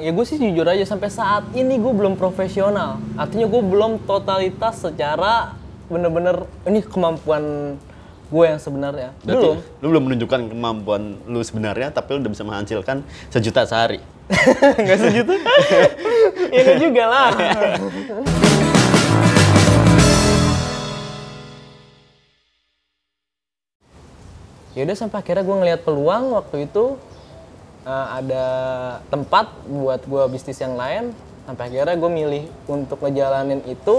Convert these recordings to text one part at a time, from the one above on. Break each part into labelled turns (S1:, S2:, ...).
S1: ya gue sih jujur aja sampai saat ini gue belum profesional artinya gue belum totalitas secara bener-bener ini kemampuan gue yang sebenarnya
S2: Berarti
S1: belum
S2: lu belum menunjukkan kemampuan lu sebenarnya, tapi lu udah bisa menghasilkan sejuta sehari.
S1: nggak segitu ya nggak juga lah ya udah sampai akhirnya gue ngelihat peluang waktu itu eh, ada tempat buat gue bisnis yang lain sampai akhirnya gue milih untuk ngejalanin itu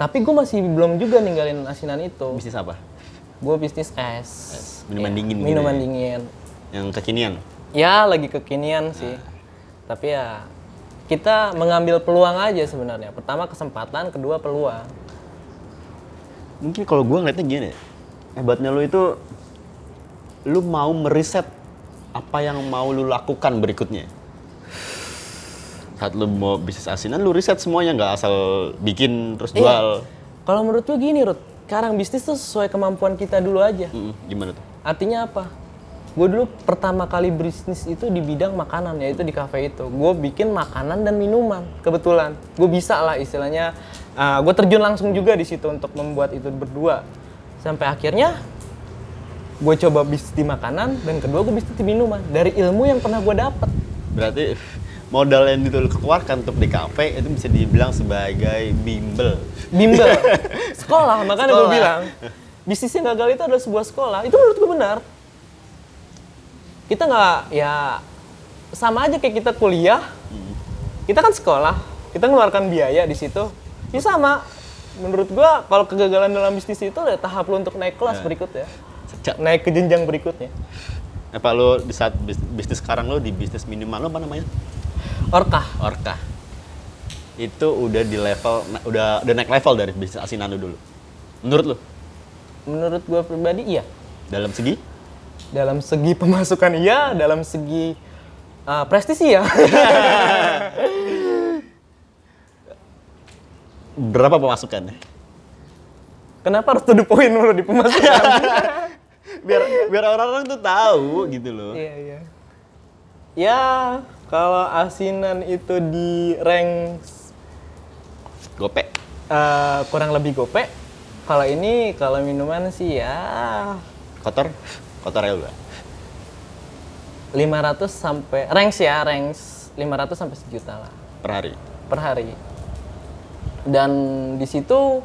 S1: tapi gue masih belum juga ninggalin asinan itu
S2: Bisnis apa?
S1: gue bisnis es,
S2: minuman
S1: Iya,
S2: dingin gitu
S1: minuman
S2: ya.
S1: dingin
S2: Yang kekinian.
S1: ya lagi kekinian sih tapi ya kita mengambil peluang aja sebenarnya pertama kesempatan kedua peluang
S2: Mungkin kalau gua ngeliatnya gini, ya, hebatnya lu itu lu mau meriset apa yang mau lu lakukan berikutnya. Saat lu mau bisnis asinan, lu riset semuanya nggak asal bikin terus jual.
S1: kalau menurut gue gini Rut sekarang bisnis tuh sesuai kemampuan kita dulu aja
S2: Mm-mm, gimana tuh?
S1: artinya apa gue dulu pertama kali bisnis itu di bidang makanan yaitu di cafe itu gue bikin makanan dan minuman kebetulan gue bisa lah istilahnya gue terjun langsung juga di situ untuk membuat itu berdua sampai akhirnya gue coba bisnis di makanan dan kedua gue bisnis di minuman dari ilmu yang pernah gue dapet
S2: Berarti modal yang itu lu keluarkan untuk di kafe itu bisa dibilang sebagai bimbel.
S1: bimbel sekolah makanya gue
S2: Sekolah.
S1: bilang bisnis yang gagal itu adalah sebuah sekolah itu menurut gue benar kita nggak ya sama aja kayak kita kuliah kita kan sekolah kita ngeluarkan biaya di situ ya sama menurut gue kalau kegagalan dalam bisnis itu ada tahap lu untuk naik kelas berikutnya
S2: Sejak
S1: naik ke jenjang berikutnya
S2: apa lo di saat bis- bisnis sekarang lo di bisnis minimal lo apa namanya
S1: orkah
S2: Orka itu udah di level na- udah udah naik level dari bisnis asinan lo dulu menurut lo
S1: menurut gue pribadi iya
S2: dalam segi
S1: dalam segi pemasukan iya dalam segi uh, prestisi ya
S2: berapa pemasukannya
S1: kenapa harus to the point mulu di pemasukan
S2: biar biar orang-orang tuh tahu gitu loh
S1: Iya, iya. Ya, kalau asinan itu di rank
S2: gopek
S1: eh, kurang lebih gope. Kalau ini, kalau minuman sih ya
S2: kotor kotor ya udah
S1: 500 sampai ranks ya, ranks 500 sampai sejuta lah
S2: per hari
S1: per hari. Dan di situ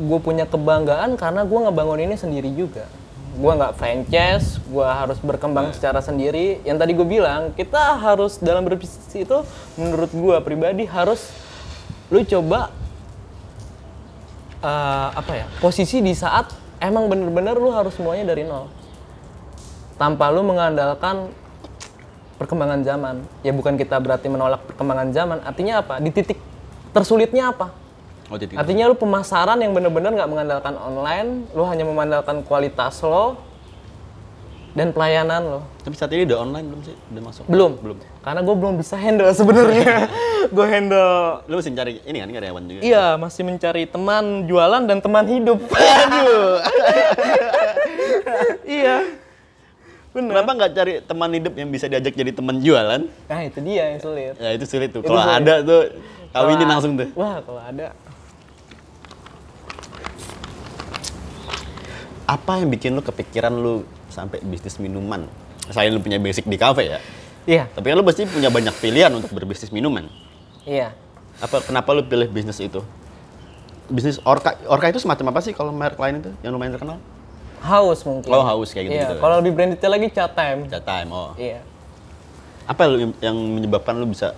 S1: gue punya kebanggaan karena gue ngebangun ini sendiri juga. Gue nggak franchise, gue harus berkembang secara sendiri. Yang tadi gue bilang, kita harus dalam berbisnis itu menurut gue pribadi harus lu coba eh, apa ya posisi di saat emang bener-bener lu harus semuanya dari nol tanpa lu mengandalkan perkembangan zaman ya bukan kita berarti menolak perkembangan zaman artinya apa di titik tersulitnya apa
S2: oh titik
S1: artinya lu pemasaran yang bener-bener nggak mengandalkan online lu hanya mengandalkan kualitas lo dan pelayanan lo
S2: tapi saat ini udah online belum sih udah masuk
S1: belum
S2: belum
S1: karena gue belum bisa handle sebenarnya gue handle
S2: lo masih cari ini kan karyawan juga
S1: Iya, masih mencari teman jualan dan teman hidup. iya.
S2: kenapa nggak cari teman hidup yang bisa diajak jadi teman jualan
S1: Nah, itu dia yang sulit.
S2: ya itu sulit tuh
S1: Itu
S2: kalau
S1: sulit.
S2: ada tuh kawinin langsung tuh
S1: Wah, kalau ada.
S2: apa yang bikin lu kepikiran lu sampai bisnis minuman? Selain lu punya basic di kafe ya,
S1: Iya,
S2: tapi kan lu pasti punya banyak pilihan untuk berbisnis minuman.
S1: iya.
S2: Apa kenapa lu pilih bisnis itu? Bisnis Orka, Orka itu semacam apa sih kalau merek lain itu yang lumayan terkenal?
S1: Haus mungkin.
S2: Oh, haus kayak
S1: Iya,
S2: gitu-gitu.
S1: kalau lebih brandednya lagi chat time.
S2: That time, oh.
S1: Iya.
S2: Apa lu yang- yang menyebabkan lu bisa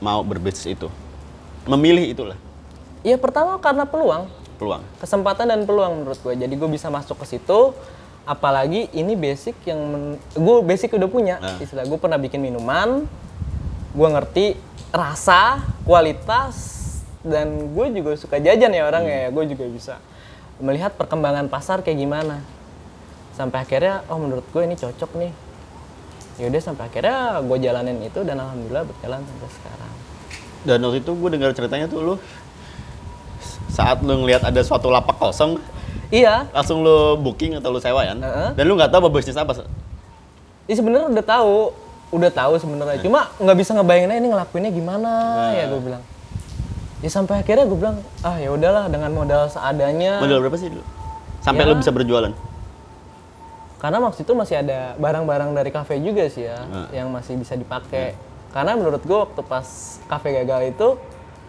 S2: mau berbisnis itu? Memilih itulah
S1: Iya, pertama karena peluang.
S2: peluang.
S1: kesempatan dan peluang menurut gue jadi gue bisa masuk ke situ apalagi ini basic yang gue basic udah punya
S2: Nah.
S1: istilah gue pernah bikin minuman gue ngerti rasa kualitas dan gue juga suka jajan ya orang ya gue juga bisa melihat perkembangan pasar kayak gimana sampai akhirnya oh menurut gue ini cocok nih yaudah sampai akhirnya gue jalanin itu dan alhamdulillah berjalan sampai sekarang
S2: Dan waktu itu gue dengar ceritanya tuh lu saat lu ngelihat ada suatu lapak kosong
S1: iya
S2: langsung lu booking atau lu sewa ya
S1: Heeh.
S2: dan lu nggak tahu mau bisnis apa
S1: Ya Iya, sebenarnya udah tahu udah tahu
S2: Iya.
S1: sebenarnya cuma nggak bisa ngebayangin ini ngelakuinnya gimana ya gue bilang ya sampai akhirnya gue bilang ah ya udahlah dengan modal seadanya
S2: Modal berapa sih dulu? Sampai
S1: Eh. Ya.
S2: lo bisa berjualan?
S1: karena waktu itu masih ada barang-barang dari kafe juga sih ya
S2: Nah.
S1: yang masih bisa dipakai
S2: Iya.
S1: karena menurut gue waktu pas kafe gagal itu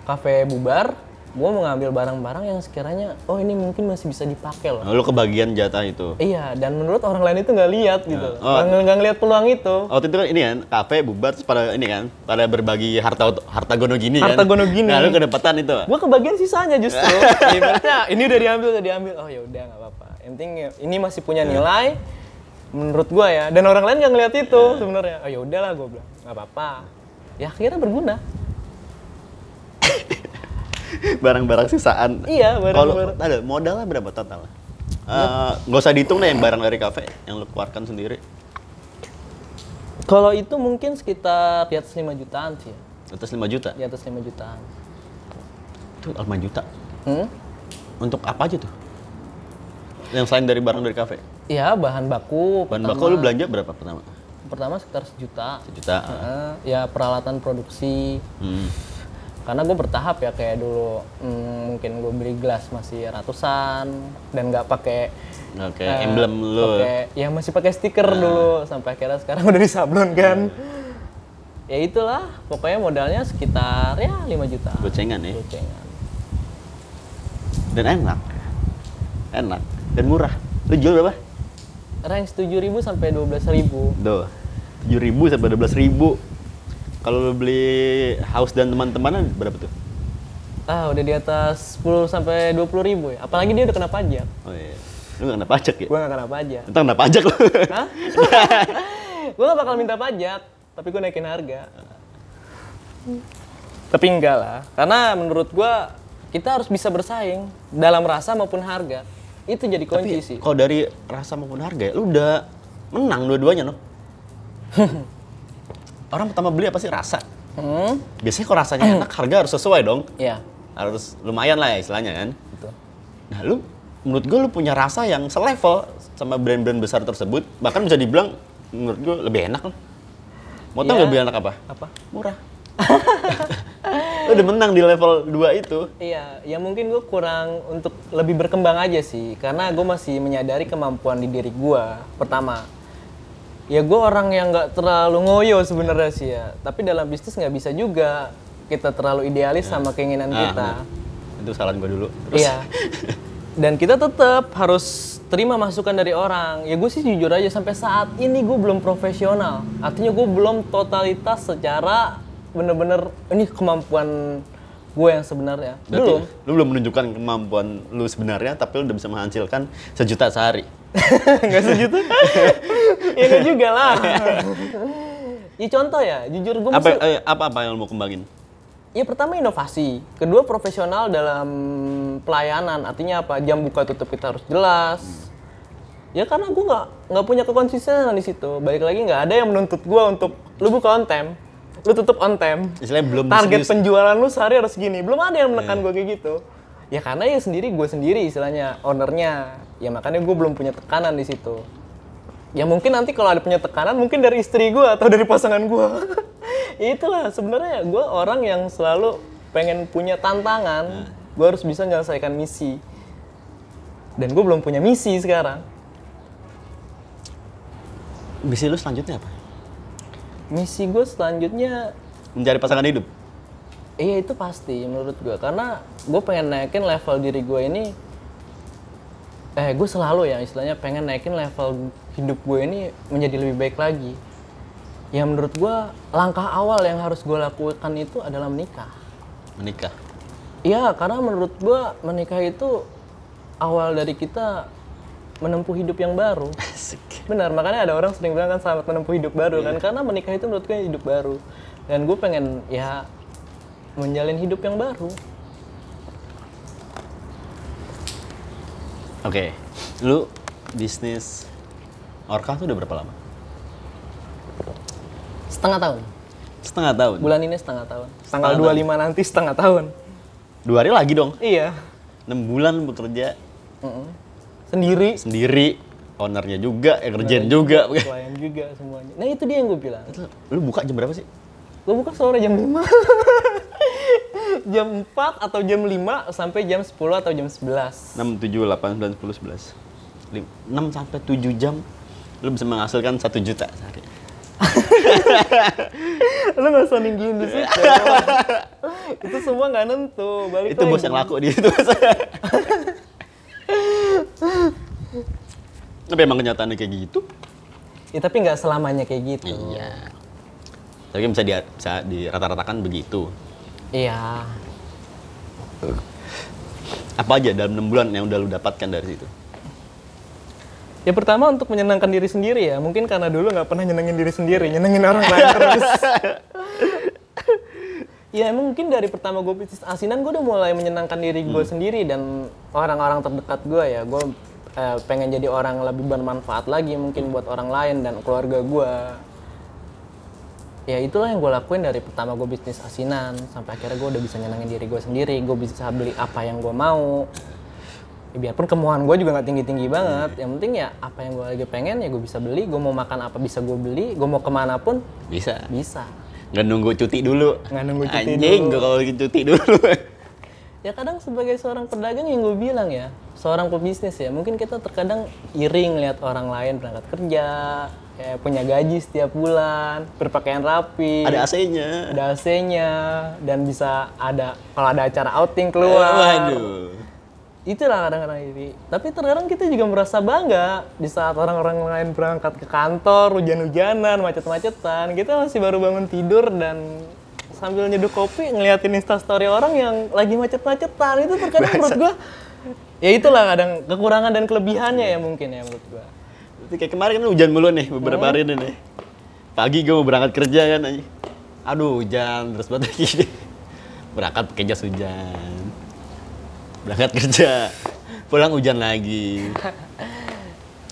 S1: kafe bubar gue mengambil barang-barang yang sekiranya oh ini mungkin masih bisa dipakai loh
S2: Nah, lo kebagian jatah itu.
S1: Iya, dan menurut orang lain itu nggak lihat gitu.
S2: Oh.
S1: Nggak nggak ngeliat peluang itu.
S2: Waktu itu kan ini kan, kafe bubar terus pada ini kan, pada berbagi harta harta gono gini kan.
S1: Harta gono gini.
S2: Nah, lo kedapatan itu.
S1: Gue kebagian sisanya justru. Ibaratnya Iya, ini udah diambil, udah diambil. Oh ya udah nggak apa-apa. Yang penting ya, ini masih punya nilai. Menurut gue ya, dan orang lain nggak ngeliat itu sebenarnya. Oh ya udahlah gue bilang nggak apa-apa. Ya akhirnya berguna.
S2: Barang-barang sisaan.
S1: Iya, barang-barang. Iya.
S2: Kalau ada modalnya berapa total? Eh, Nggak usah dihitung deh yang barang dari kafe yang lo keluarkan sendiri.
S1: Kalau itu mungkin sekitar di atas 5 jutaan sih. ya.
S2: Atas 5 juta.
S1: Di atas 5 jutaan.
S2: Itu 5 juta.
S1: Hmm?
S2: Untuk apa aja tuh? Yang selain dari barang dari kafe.
S1: Ya bahan baku.
S2: Bahan
S1: pertama-
S2: bakau lo belanja berapa pertama?
S1: Pertama sekitar sejuta.
S2: Sejuta.
S1: Heeh. ya peralatan produksi.
S2: Hmm.
S1: karena gue bertahap ya kayak dulu mm, mungkin gue beli gelas masih ratusan dan nggak pakai
S2: Oke,
S1: eh,
S2: emblem Ah. lo.
S1: pakai- ya masih pakai stiker dulu sampai akhirnya sekarang udah disablon kan
S2: Hmm.
S1: ya itulah pokoknya modalnya sekitar ya 5 juta
S2: Gocengan ya.
S1: gocengan
S2: Dan enak. Enak dan murah. Lo jual berapa?
S1: range 7.000 sampai 12.000
S2: Tuh. 7.000 sampai 12.000. Kalau lo beli house dan teman-temannya berapa tuh?
S1: ah udah di atas 10 sampai 20.000 ya apalagi dia udah kena pajak
S2: Oh iya. Lu gak kena pajak ya?
S1: gue nggak kena pajak
S2: Entar kena pajak lu.
S1: Hah? gue gak bakal minta pajak, tapi gue naikin harga. Tapi enggak lah, karena menurut gue kita harus bisa bersaing dalam rasa maupun harga. Itu jadi kunci
S2: Tapi
S1: sih.
S2: kalau dari rasa maupun harga ya, lu udah menang dua-duanya noh. Orang pertama beli apa sih rasa?
S1: Hmm?
S2: Biasanya kalau rasanya enak harga harus sesuai dong.
S1: Ya,
S2: Harus lumayan lah ya istilahnya kan.
S1: betul.
S2: Nah, lu menurut gue lu punya rasa yang selevel sama brand-brand besar tersebut, bahkan bisa dibilang menurut gue lebih enak. lah. Mau tau
S1: Iya.
S2: lebih enak apa?
S1: Apa?
S2: Murah. lu udah menang di level 2 itu.
S1: Iya, ya mungkin gue kurang untuk lebih berkembang aja sih, karena gue masih menyadari kemampuan di diri gue. Pertama, ya gue orang yang nggak terlalu ngoyo sebenarnya sih ya, tapi dalam bisnis nggak bisa juga kita terlalu idealis sama keinginan
S2: Ah,
S1: Kan kita.
S2: nah. Itu saran gue dulu. Terus
S1: Iya. Dan kita tetap harus terima masukan dari orang. Ya gue sih jujur aja sampai saat ini gue belum profesional. Artinya gue belum totalitas secara bener-bener ini kemampuan gue yang sebenarnya.
S2: berarti
S1: Belum.
S2: lu belum menunjukkan kemampuan lu sebenarnya, tapi lu udah bisa menghasilkan sejuta sehari.
S1: Nggak sejuta? ya nggak juga lah. ya contoh ya, jujur gue
S2: Apa,
S1: masih...
S2: eh, apa apa yang lu mau kembangin?
S1: Ya pertama inovasi, kedua profesional dalam pelayanan. Artinya apa? Jam buka tutup kita harus jelas. Ya karena gue nggak nggak punya kekonsistenan di situ. Balik lagi nggak ada yang menuntut gue untuk lu buka on time, lu tutup on time.
S2: Istilahnya belum
S1: Target
S2: serius.
S1: penjualan lu sehari harus gini. Belum ada yang menekan gue kayak gitu. Ya karena ya sendiri gue sendiri istilahnya ownernya. Ya makanya gue belum punya tekanan di situ. Ya mungkin nanti kalau ada punya tekanan mungkin dari istri gue atau dari pasangan gue. Ya Itulah sebenarnya gue orang yang selalu pengen punya tantangan. Gue harus bisa menyelesaikan misi. Dan gue belum punya misi sekarang.
S2: Misi lu selanjutnya apa?
S1: Misi gue selanjutnya
S2: Mencari pasangan hidup.
S1: Iya itu pasti menurut gue karena gue pengen naikin level diri gue ini eh gue selalu ya istilahnya pengen naikin level hidup gue ini menjadi lebih baik lagi. Ya menurut gue langkah awal yang harus gue lakukan itu adalah menikah.
S2: Menikah.
S1: Iya karena menurut gue menikah itu awal dari kita menempuh hidup yang baru.
S2: Asik.
S1: Benar, makanya ada orang sering bilang kan selamat menempuh hidup baru kan karena menikah itu menurut gue hidup baru. Dan gue pengen ya menjalin hidup yang baru.
S2: Oke, lu bisnis Orca tuh udah berapa lama?
S1: Setengah tahun.
S2: Setengah tahun.
S1: Bulan ini setengah tahun.
S2: Setengah
S1: Tanggal 25 nanti setengah tahun.
S2: Dua hari lagi dong.
S1: Iya.
S2: 6 bulan bekerja
S1: Mm-mm. Sendiri
S2: sendiri. ownernya juga, yang kerjaan juga.
S1: Klien juga semuanya. Nah itu dia yang gue bilang.
S2: Lu buka jam berapa sih?
S1: Gue buka sore jam 5. jam 4 atau jam 5 sampai jam 10 atau jam 11.
S2: 6, 7, 8, 9, 10, 11. 6 sampai 7 jam lu bisa menghasilkan 1 juta sehari.
S1: Lu gak usah ninggiin di situ. itu semua gak nentu. Balik
S2: Itu bos
S1: lagi.
S2: yang laku di situ. Tapi emang kenyataannya kayak gitu.
S1: Ya, tapi nggak selamanya kayak gitu.
S2: Iya. Tapi kan bisa di bisa dirata-ratakan begitu.
S1: Iya.
S2: Apa aja dalam 6 bulan yang udah lu dapatkan dari situ?
S1: Ya pertama untuk menyenangkan diri sendiri ya. Mungkin karena dulu nggak pernah nyenengin diri sendiri, nyenengin orang lain terus. ya emang mungkin dari pertama gue bisnis asinan gue udah mulai menyenangkan diri gue sendiri dan orang-orang terdekat gue ya. Gue eh, pengen jadi orang yang lebih bermanfaat lagi mungkin buat orang lain dan keluarga gue. Ya itulah yang gue lakuin dari pertama gue bisnis asinan sampai akhirnya gue udah bisa nyenangin diri gue sendiri. Gue bisa beli apa yang gue mau ya biarpun kemohonan gue juga nggak tinggi tinggi banget yang penting ya apa yang gue lagi pengen ya gue bisa beli gue mau makan apa bisa gue beli gue mau kemana pun
S2: Bisa.
S1: bisa
S2: Nggak nunggu cuti dulu.
S1: Nggak nunggu cuti
S2: Anjing,
S1: dulu.
S2: nggak kalau lagi cuti dulu.
S1: ya kadang sebagai seorang pedagang yang gue bilang ya seorang pebisnis ya mungkin kita terkadang iri ngeliat orang lain berangkat kerja kayak punya gaji setiap bulan berpakaian rapi
S2: Ada AC-nya.
S1: ada AC-nya dan bisa ada kalau ada acara outing keluar
S2: Eh, Waduh.
S1: itulah kadang-kadang iri. Tapi terkadang kita juga merasa bangga di saat orang-orang lain berangkat ke kantor, hujan-hujanan, macet-macetan. Kita masih baru bangun tidur dan sambil nyeduh kopi ngeliatin instastory orang yang lagi macet-macetan. Itu terkadang menurut gua ya itulah kadang kekurangan dan kelebihannya ya mungkin ya menurut gua.
S2: Itu kayak kemarin kan hujan mulu nih beberapa hari ini nih. Pagi gue mau berangkat kerja kan anjing. Aduh hujan terus banget lagi nih. Berangkat pakai jas hujan. Berangkat kerja. Pulang hujan lagi.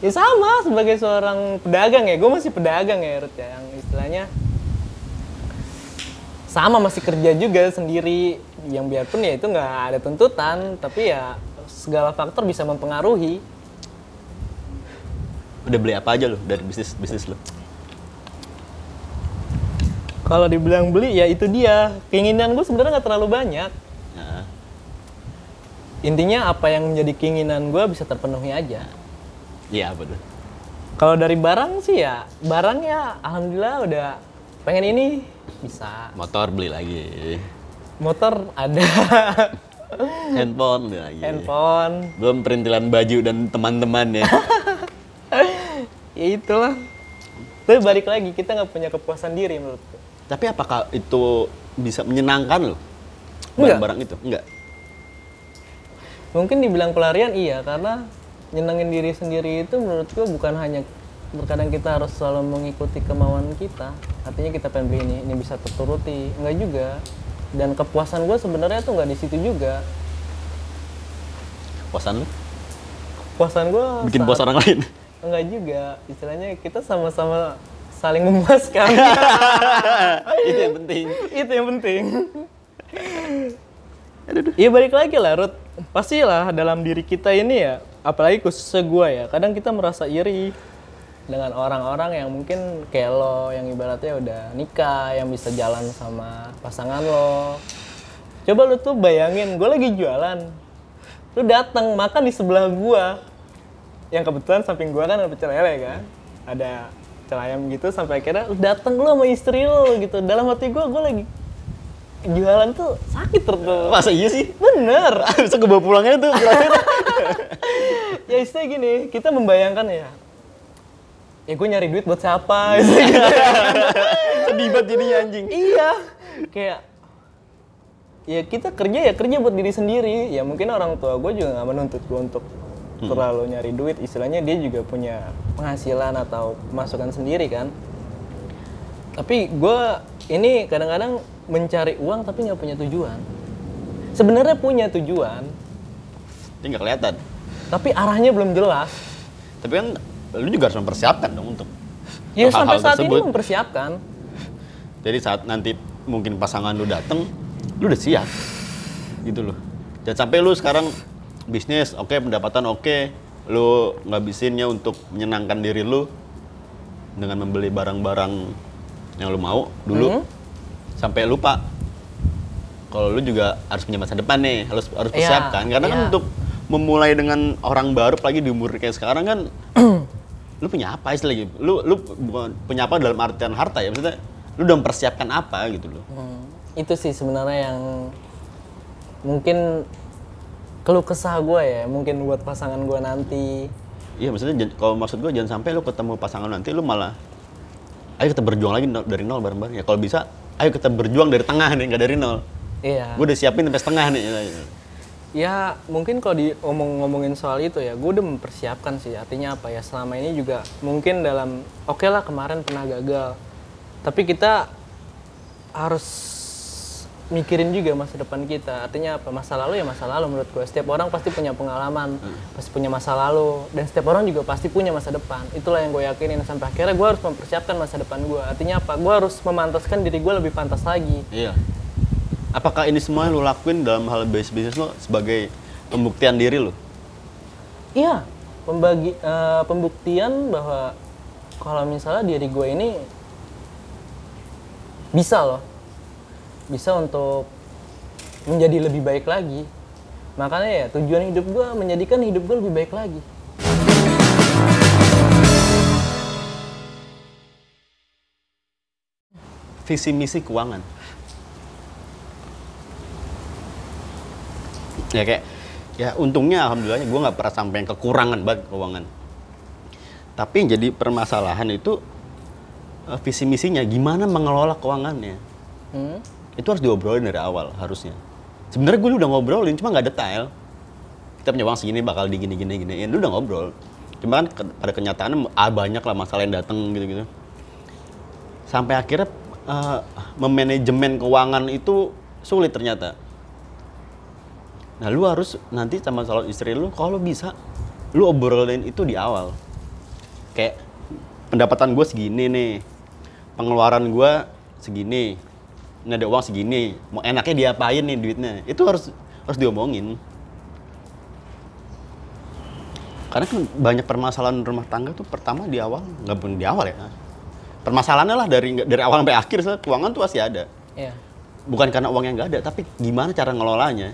S1: Ya sama sebagai seorang pedagang ya, gue masih pedagang ya Ruth ya, yang istilahnya sama masih kerja juga sendiri, yang biarpun ya itu nggak ada tuntutan, tapi ya segala faktor bisa mempengaruhi.
S2: Udah beli apa aja lo dari bisnis bisnis lo?
S1: Kalau dibilang beli ya itu dia, keinginan gue sebenarnya nggak terlalu banyak.
S2: Nah,
S1: Intinya apa yang menjadi keinginan gue bisa terpenuhi aja.
S2: iya apa tuh?
S1: Kalau dari barang sih ya, barangnya alhamdulillah udah pengen ini bisa.
S2: Motor beli lagi.
S1: Motor ada,
S2: Handphone beli lagi.
S1: handphone,
S2: Belum perintilan baju dan teman-teman ya.
S1: ya itulah tapi balik lagi kita nggak punya kepuasan diri menurutku
S2: Tapi apakah itu bisa menyenangkan lo?
S1: Enggak.
S2: Barang-barang itu? Enggak.
S1: mungkin dibilang pelarian iya karena nyenengin diri sendiri itu menurutku bukan hanya terkadang kita harus selalu mengikuti kemauan kita artinya kita pengen beli ini ini bisa terturuti nggak juga dan kepuasan gue sebenarnya tuh nggak di situ juga
S2: Puasan lo?
S1: kepuasan gue
S2: Bikin puas orang lain?
S1: nggak juga istilahnya kita sama-sama saling memuaskan
S2: itu yang penting.
S1: itu yang penting. Iya balik lagi lah, Ruth. Pastilah dalam diri kita ini ya, apalagi khususnya gue ya, kadang kita merasa iri dengan orang-orang yang mungkin kayak lo, yang ibaratnya udah nikah, yang bisa jalan sama pasangan lo. Coba lu tuh bayangin, gue lagi jualan. Lu datang makan di sebelah gua. Yang kebetulan samping gua kan ada pecel lele kan. Ada pecel ayam gitu sampai akhirnya lu datang lu sama istri lu gitu. Dalam hati gua gua lagi jualan tuh sakit terus.
S2: Masa iya sih?
S1: Bener.
S2: Bisa gue bawa pulangnya tuh terakhir.
S1: ya istilahnya gini, kita membayangkan ya. Ya gue nyari duit buat siapa? Istilahnya gitu.
S2: Sedih banget jadinya anjing.
S1: iya kayak ya kita kerja ya kerja buat diri sendiri ya mungkin orang tua gue juga nggak menuntut gue untuk terlalu nyari duit istilahnya dia juga punya penghasilan atau masukan sendiri kan tapi gue ini kadang-kadang mencari uang tapi nggak punya tujuan sebenarnya punya tujuan
S2: Ini nggak kelihatan.
S1: tapi arahnya belum jelas
S2: Tapi kan lu juga harus mempersiapkan dong untuk
S1: ya
S2: hal-hal
S1: sampai saat
S2: tersebut.
S1: ini mempersiapkan
S2: Jadi saat nanti mungkin pasangan lu dateng, lu udah siap. Gitu loh. Jangan sampai lu sekarang bisnis oke, pendapatan oke, lu ngabisinnya untuk menyenangkan diri lu dengan membeli barang-barang yang lu mau
S1: Hmm.
S2: dulu sampai lupa kalau lu juga harus punya masa depan nih harus harus
S1: Iya,
S2: persiapkan karena kan
S1: iya.
S2: untuk memulai dengan orang baru apalagi di umur kayak sekarang kan lu punya apa istilahnya lu lu bukan punya apa dalam artian harta ya maksudnya lu udah mempersiapkan apa gitu loh
S1: Hmm, itu sih sebenarnya yang mungkin keluh kesah gue ya mungkin buat pasangan gue nanti
S2: Iya maksudnya jan- kalau maksud gue jangan sampai lu ketemu pasangan nanti lu malah ayo kita berjuang lagi no- dari nol bareng-bareng ya kalau bisa ayo kita berjuang dari tengah nih nggak dari nol
S1: iya
S2: gue udah siapin sampai setengah nih
S1: ya mungkin kalau diomong-ngomongin soal itu ya gue udah mempersiapkan sih artinya apa ya selama ini juga mungkin dalam oke lah kemarin pernah gagal tapi kita harus mikirin juga masa depan kita artinya apa masa lalu ya masa lalu menurut gue setiap orang pasti punya pengalaman pasti punya masa lalu dan setiap orang juga pasti punya masa depan itulah yang gue yakinin sampai akhirnya gue harus mempersiapkan masa depan gue artinya apa gue harus memantaskan diri gue lebih pantas lagi
S2: iya apakah ini semua lu lakuin dalam hal bisnis bisnis lo sebagai pembuktian diri lo
S1: Iya, pembagi eh, pembuktian bahwa kalau misalnya diri gue ini bisa loh, bisa untuk menjadi lebih baik lagi. Makanya ya tujuan hidup gue menjadikan hidup gue lebih baik lagi.
S2: visi misi keuangan ya kayak ya untungnya alhamdulillahnya gue nggak pernah sampai yang kekurangan banget keuangan tapi yang jadi permasalahan itu eh, visi misinya gimana mengelola keuangannya
S1: Hmm?
S2: itu harus diobrolin dari awal harusnya sebenarnya gue udah ngobrolin cuma nggak detail kita punya uang segini bakal digini gini giniin lu udah ngobrol cuma kan ke- pada kenyataannya ah, banyak lah masalah yang datang gitu gitu sampai akhirnya eh, memanajemen keuangan itu sulit ternyata nah lu harus nanti sama calon istri lu kalau bisa lu obrolin itu di awal kayak pendapatan gue segini nih pengeluaran gue segini ini ada uang segini mau enaknya diapain nih duitnya itu harus harus diomongin karena kan banyak permasalahan rumah tangga tuh pertama di awal nggak pun di awal ya permasalahannya lah dari dari awal sampai akhir sebenarnya keuangan tuh pasti ada
S1: Iya.
S2: bukan karena uangnya nggak ada tapi gimana cara ngelolanya